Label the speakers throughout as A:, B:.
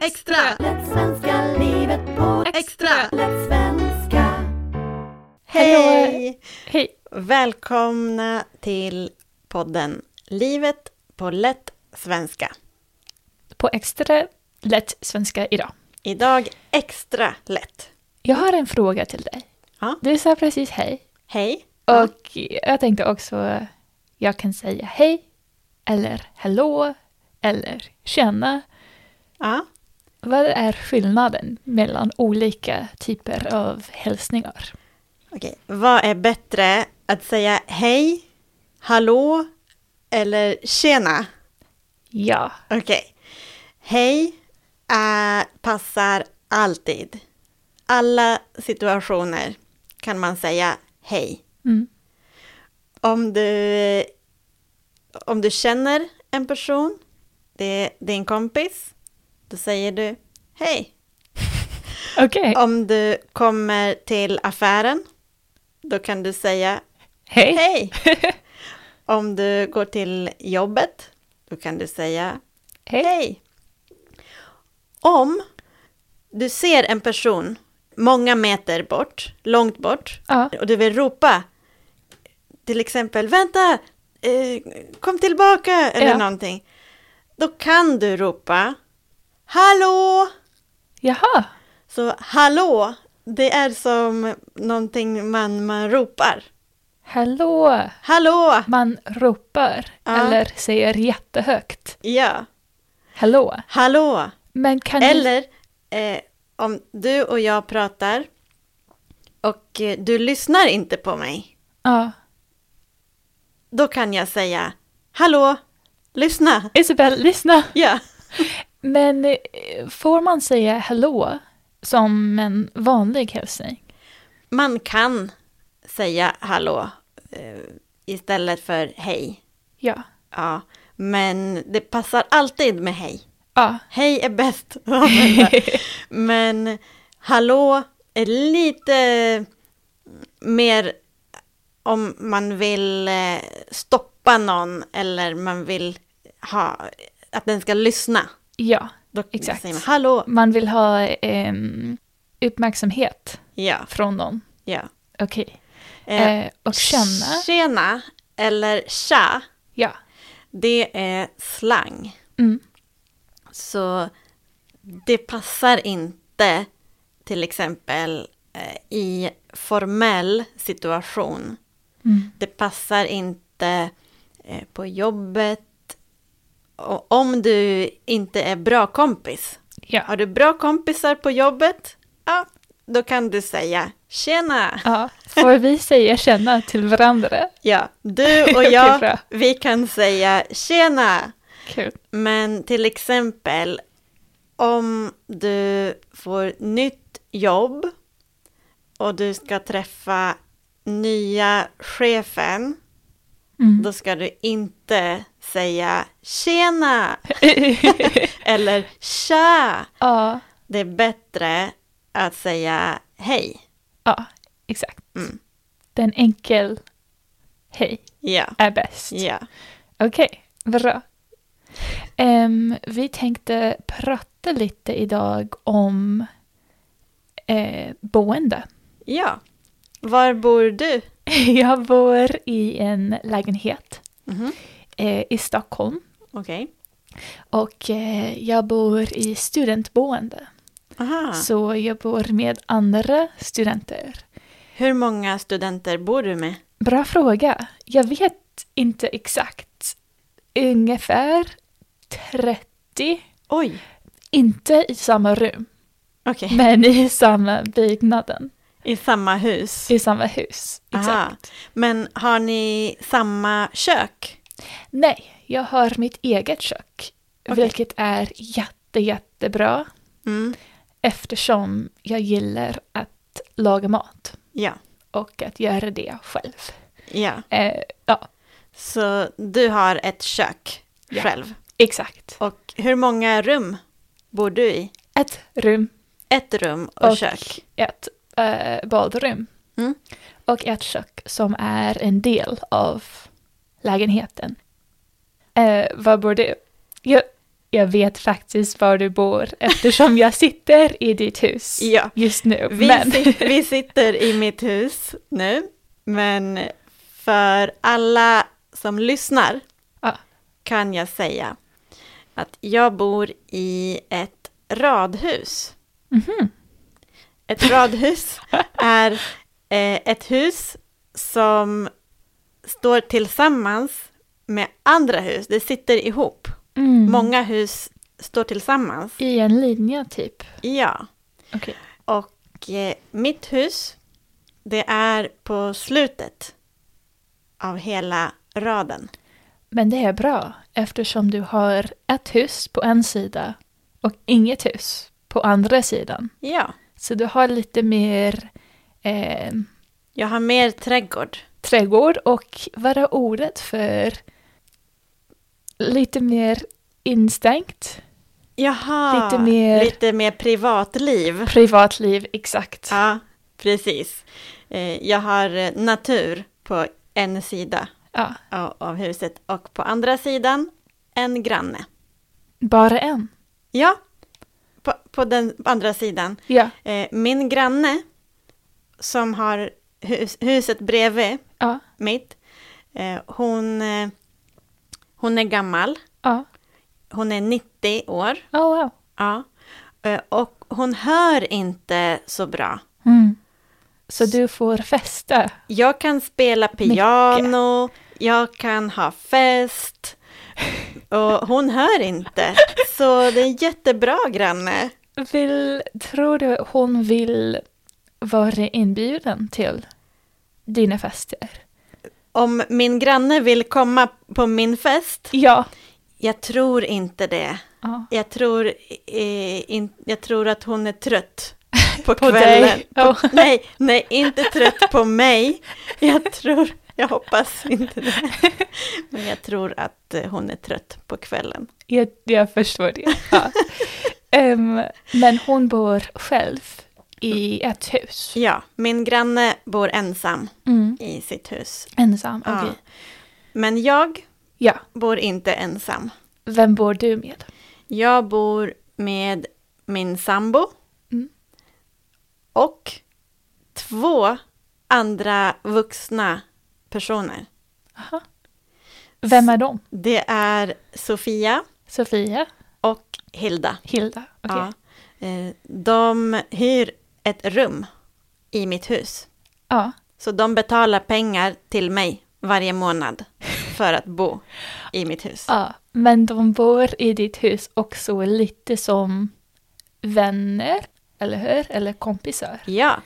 A: Extra!
B: Lätt svenska livet på
A: Extra!
B: lätt svenska.
A: Hej!
C: Hej!
A: Välkomna till podden Livet på lätt svenska.
C: På extra lätt svenska idag.
A: Idag extra lätt.
C: Jag har en fråga till dig.
A: Ja.
C: Du sa precis hej.
A: Hej!
C: Och jag tänkte också, jag kan säga hej, eller hallå, eller tjena.
A: Ja.
C: Vad är skillnaden mellan olika typer av hälsningar?
A: Okej, vad är bättre att säga hej, hallå eller tjena?
C: Ja,
A: Okej. Hej eh, passar alltid. Alla situationer kan man säga hej.
C: mm.
A: Om du, om du känner en person, det är din kompis, då säger du hej.
C: okej.
A: Om du kommer till affären, då kan du säga
C: Hej!
A: hej. Om du går till jobbet, då kan du säga
C: Hej.
A: hej. Om du ser en person många meter bort, långt bort,
C: Ja,
A: och du vill ropa till exempel vänta, eh, kom tillbaka eller
C: Ja.
A: någonting. Då kan du ropa hallå!
C: jaha.
A: Så hallå, det är som någonting man, man ropar.
C: Hallå!
A: Hallå!
C: Man ropar
A: Ja.
C: eller säger jättehögt.
A: Ja,
C: Hallå!
A: hallå!
C: Men kan ni...
A: Eller eh, om du och jag pratar och eh, du lyssnar inte på mig.
C: Ja.
A: Då kan jag säga hallå, lyssna!
C: Isabel, lyssna!
A: Ja.
C: Men eh, får man säga hallå som en vanlig hälsning?
A: Man kan säga hallå eh, istället för hej.
C: Ja.
A: Ja, men det passar alltid med hej.
C: Ja.
A: Hej är bäst att använda. Men hallå är lite mer om man vill eh, stoppa någon eller man vill ha att den ska lyssna.
C: Ja,
A: Då
C: Exakt.
A: säger man hallå.
C: man vill ha ehm, uppmärksamhet
A: Ja,
C: från någon.
A: ja.
C: Okej.
A: Eh,
C: Eh, och känna.
A: Tjena eller tja,
C: Ja.
A: det är slang.
C: Mm.
A: Så det passar inte till exempel eh, i formell situation.
C: Mm.
A: Det passar inte eh, på jobbet. Och om du inte är bra kompis.
C: Ja.
A: Har du bra kompisar på jobbet? Ja, då kan du säga tjena.
C: ja. Får vi säga känna till varandra?
A: Ja, du och
C: Okej,
A: jag,
C: bra.
A: vi kan säga tjena.
C: Kul.
A: Men till exempel om du får nytt jobb och du ska träffa nya chefen,
C: Mm.
A: då ska du inte säga tjena eller tja.
C: ja.
A: Det är bättre att säga hej.
C: Ja, exakt.
A: Mm.
C: Den enkel hej
A: Ja,
C: är bäst.
A: ja.
C: Okej, bra. Ehm, vi tänkte prata lite idag om eh, boende.
A: Ja. Var bor du?
C: Jag bor i en lägenhet
A: Mhm.
C: eh, i Stockholm
A: Okej.
C: och eh, jag bor i studentboende.
A: Aha.
C: Så jag bor med andra studenter.
A: Hur många studenter bor du med?
C: Bra fråga. Jag vet inte exakt. Ungefär 30,
A: Oj,
C: inte i samma rum.
A: okej.
C: Men i samma byggnaden,
A: I samma hus?
C: i samma hus. Exakt.
A: Aha. Men har ni samma kök?
C: Nej, jag har mitt eget kök,
A: Okej.
C: vilket är jätte, jättebra
A: Mm.
C: eftersom jag gillar att laga mat
A: Ja,
C: och att göra det själv.
A: ja.
C: Eh, ja,
A: Så du har ett kök
C: Ja.
A: själv.
C: exakt.
A: Och hur många rum bor du i?
C: Ett rum
A: Ett rum och, kök.
C: ett eh, badrum.
A: Mm.
C: Och ett kök som är en del av lägenheten. Eh, var bor du? Jag, Jag vet faktiskt var du bor eftersom jag sitter i ditt hus
A: Ja.
C: just nu.
A: Vi,
C: men
A: sit, vi sitter i mitt hus nu, men för alla som lyssnar
C: Ja.
A: kan jag säga att jag bor i ett radhus.
C: Mhm.
A: Ett radhus är eh, ett hus som står tillsammans med andra hus. Det sitter ihop.
C: Mm.
A: Många hus står tillsammans.
C: I en linje typ.
A: Ja.
C: Okej.
A: Och eh, mitt hus, det är på slutet av hela raden.
C: Men det är bra eftersom du har ett hus på en sida och inget hus på andra sidan.
A: Ja,
C: Så du har lite mer eh,
A: jag har mer trädgård.
C: trädgård och vad är ordet för lite mer instängt?
A: Jaha,
C: Lite mer-
A: lite mer privatliv.
C: Privatliv, exakt.
A: Ja, precis. Eh, Jag har eh, natur på en sida
C: Ja,
A: av av huset och på andra sidan en granne.
C: bara en.
A: Ja, på, på den andra sidan.
C: Ja,
A: Eh, Min granne som har hus, huset bredvid
C: ja,
A: mitt. Eh, hon, eh, hon är gammal.
C: ja.
A: Hon är 90 år.
C: Oh, wow.
A: Ja. Eh, och hon hör inte så bra.
C: Mm. Så du får festa.
A: Jag kan spela piano, jag kan ha fest. Och hon hör inte. Så det är en jättebra granne.
C: Vill, tror du hon vill vara inbjuden till dina fester?
A: Om min granne vill komma på min fest,
C: Ja.
A: jag tror inte det.
C: ja.
A: Jag tror, eh, in, jag tror att hon är trött på,
C: På
A: kvällen.
C: dig. Ja.
A: På, nej, nej, inte trött på mig. Jag tror, jag hoppas inte det. Men jag tror att eh, hon är trött på kvällen.
C: Jag, jag förstår det. Ja. Ehm, men hon bor själv i ett hus.
A: Ja, min granne bor ensam
C: Mm.
A: i sitt hus.
C: Ensam, okej.
A: Ja. Men jag
C: Ja.
A: bor inte ensam.
C: Vem bor du med?
A: Jag bor med min sambo
C: Mm.
A: och två andra vuxna personer.
C: Aha. Vem är de?
A: Det är Sofia
C: Sofia?
A: och Hilda.
C: Hilda? Okej.
A: Ja. Eh, De hyr ett rum i mitt hus.
C: Ja.
A: Så de betalar pengar till mig varje månad för att bo i mitt hus.
C: Ja, men de bor i ditt hus också lite som vänner, eller hur? Eller kompisar.
A: Ja,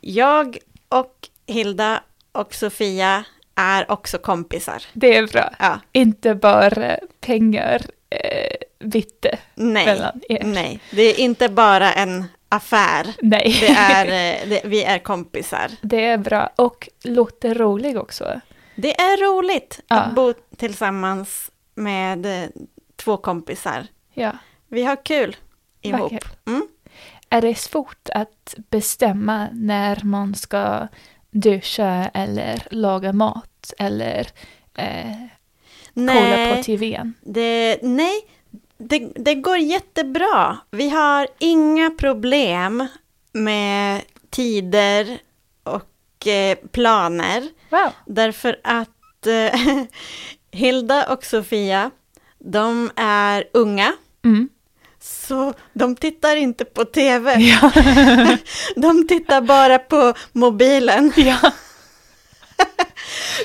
A: jag och Hilda och Sofia är också kompisar.
C: Det är bra.
A: Ja,
C: Inte bara pengar eh, bytte
A: nej, Mm.
C: mellan er.
A: nej, det är inte bara en affär.
C: Nej.
A: Det är, eh, det, vi är kompisar.
C: Det är bra och låter rolig också.
A: Det är roligt
C: Ja.
A: att bo tillsammans med eh, två kompisar.
C: Ja.
A: Vi har kul ihop.
C: Verkligen.
A: Mm.
C: Är det svårt att bestämma när man ska duscha eller laga mat eller eh, kolla på
A: Nej,
C: TVn?
A: det, nej det, det går jättebra. Vi har inga problem med tider och eh, planer.
C: Wow.
A: Därför att eh, Hilda och Sofia, de är unga.
C: Mm.
A: Så de tittar inte på tv. de tittar bara på mobilen.
C: Ja.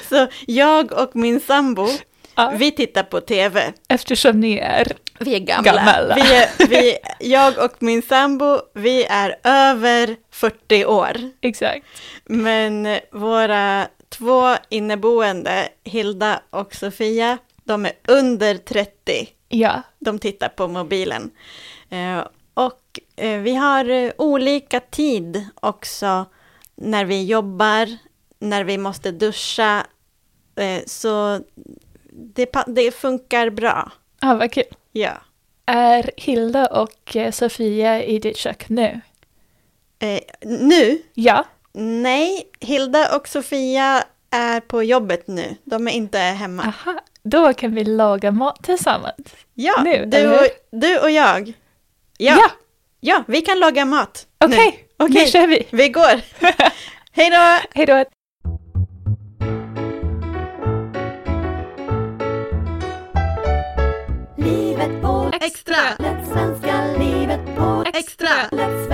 A: Så jag och min sambo,
C: Ja.
A: vi tittar på tv.
C: Eftersom ni är...
A: Vi är gamla.
C: Gamla.
A: Vi är, vi, jag och min sambo, vi är över 40 år.
C: Exakt.
A: Men våra två inneboende, Hilda och Sofia, de är under 30.
C: Ja.
A: De tittar på mobilen. Eh, Och eh, vi har eh, olika tid också när vi jobbar, när vi måste duscha. Eh, Så det, pa- det funkar bra.
C: Ja, vad kul.
A: Ja.
C: Är Hilda och eh, Sofia i ditt kök nu?
A: Eh, Nu?
C: Ja. Ah,
A: Nej, Hilda och Sofia är på jobbet nu. De är inte hemma.
C: Aha. Då kan vi laga mat tillsammans.
A: Ja,
C: Nu,
A: du,
C: eller
A: och, du och jag. Ja, ja. vi kan laga mat. nu.
C: Okej, nu
A: Okej.
C: kör vi.
A: Vi går. Hej då!
C: Hej då.
B: Livet på
A: Extra!
B: lätt svenska, livet på
A: Extra!
B: lätt